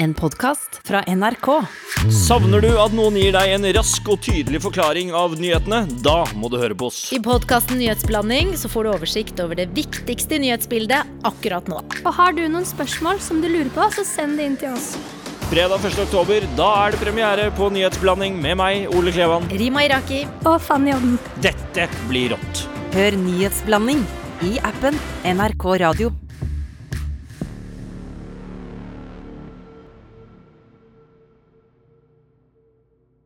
En podkast fra NRK. Savner du at noen gir deg en rask og tydelig forklaring av nyhetene? Da må du høre på oss. I podkasten Nyhetsblanding så får du oversikt over det viktigste nyhetsbildet akkurat nå. Og har du noen spørsmål som du lurer på, så send det inn til oss. Fredag 1. oktober, da er det premiere på Nyhetsblanding med meg, Ole Klevan. Rima Iraki. Og Fanny Odden. Dette blir rått. Hør nyhetsblanding i appen NRK Radio.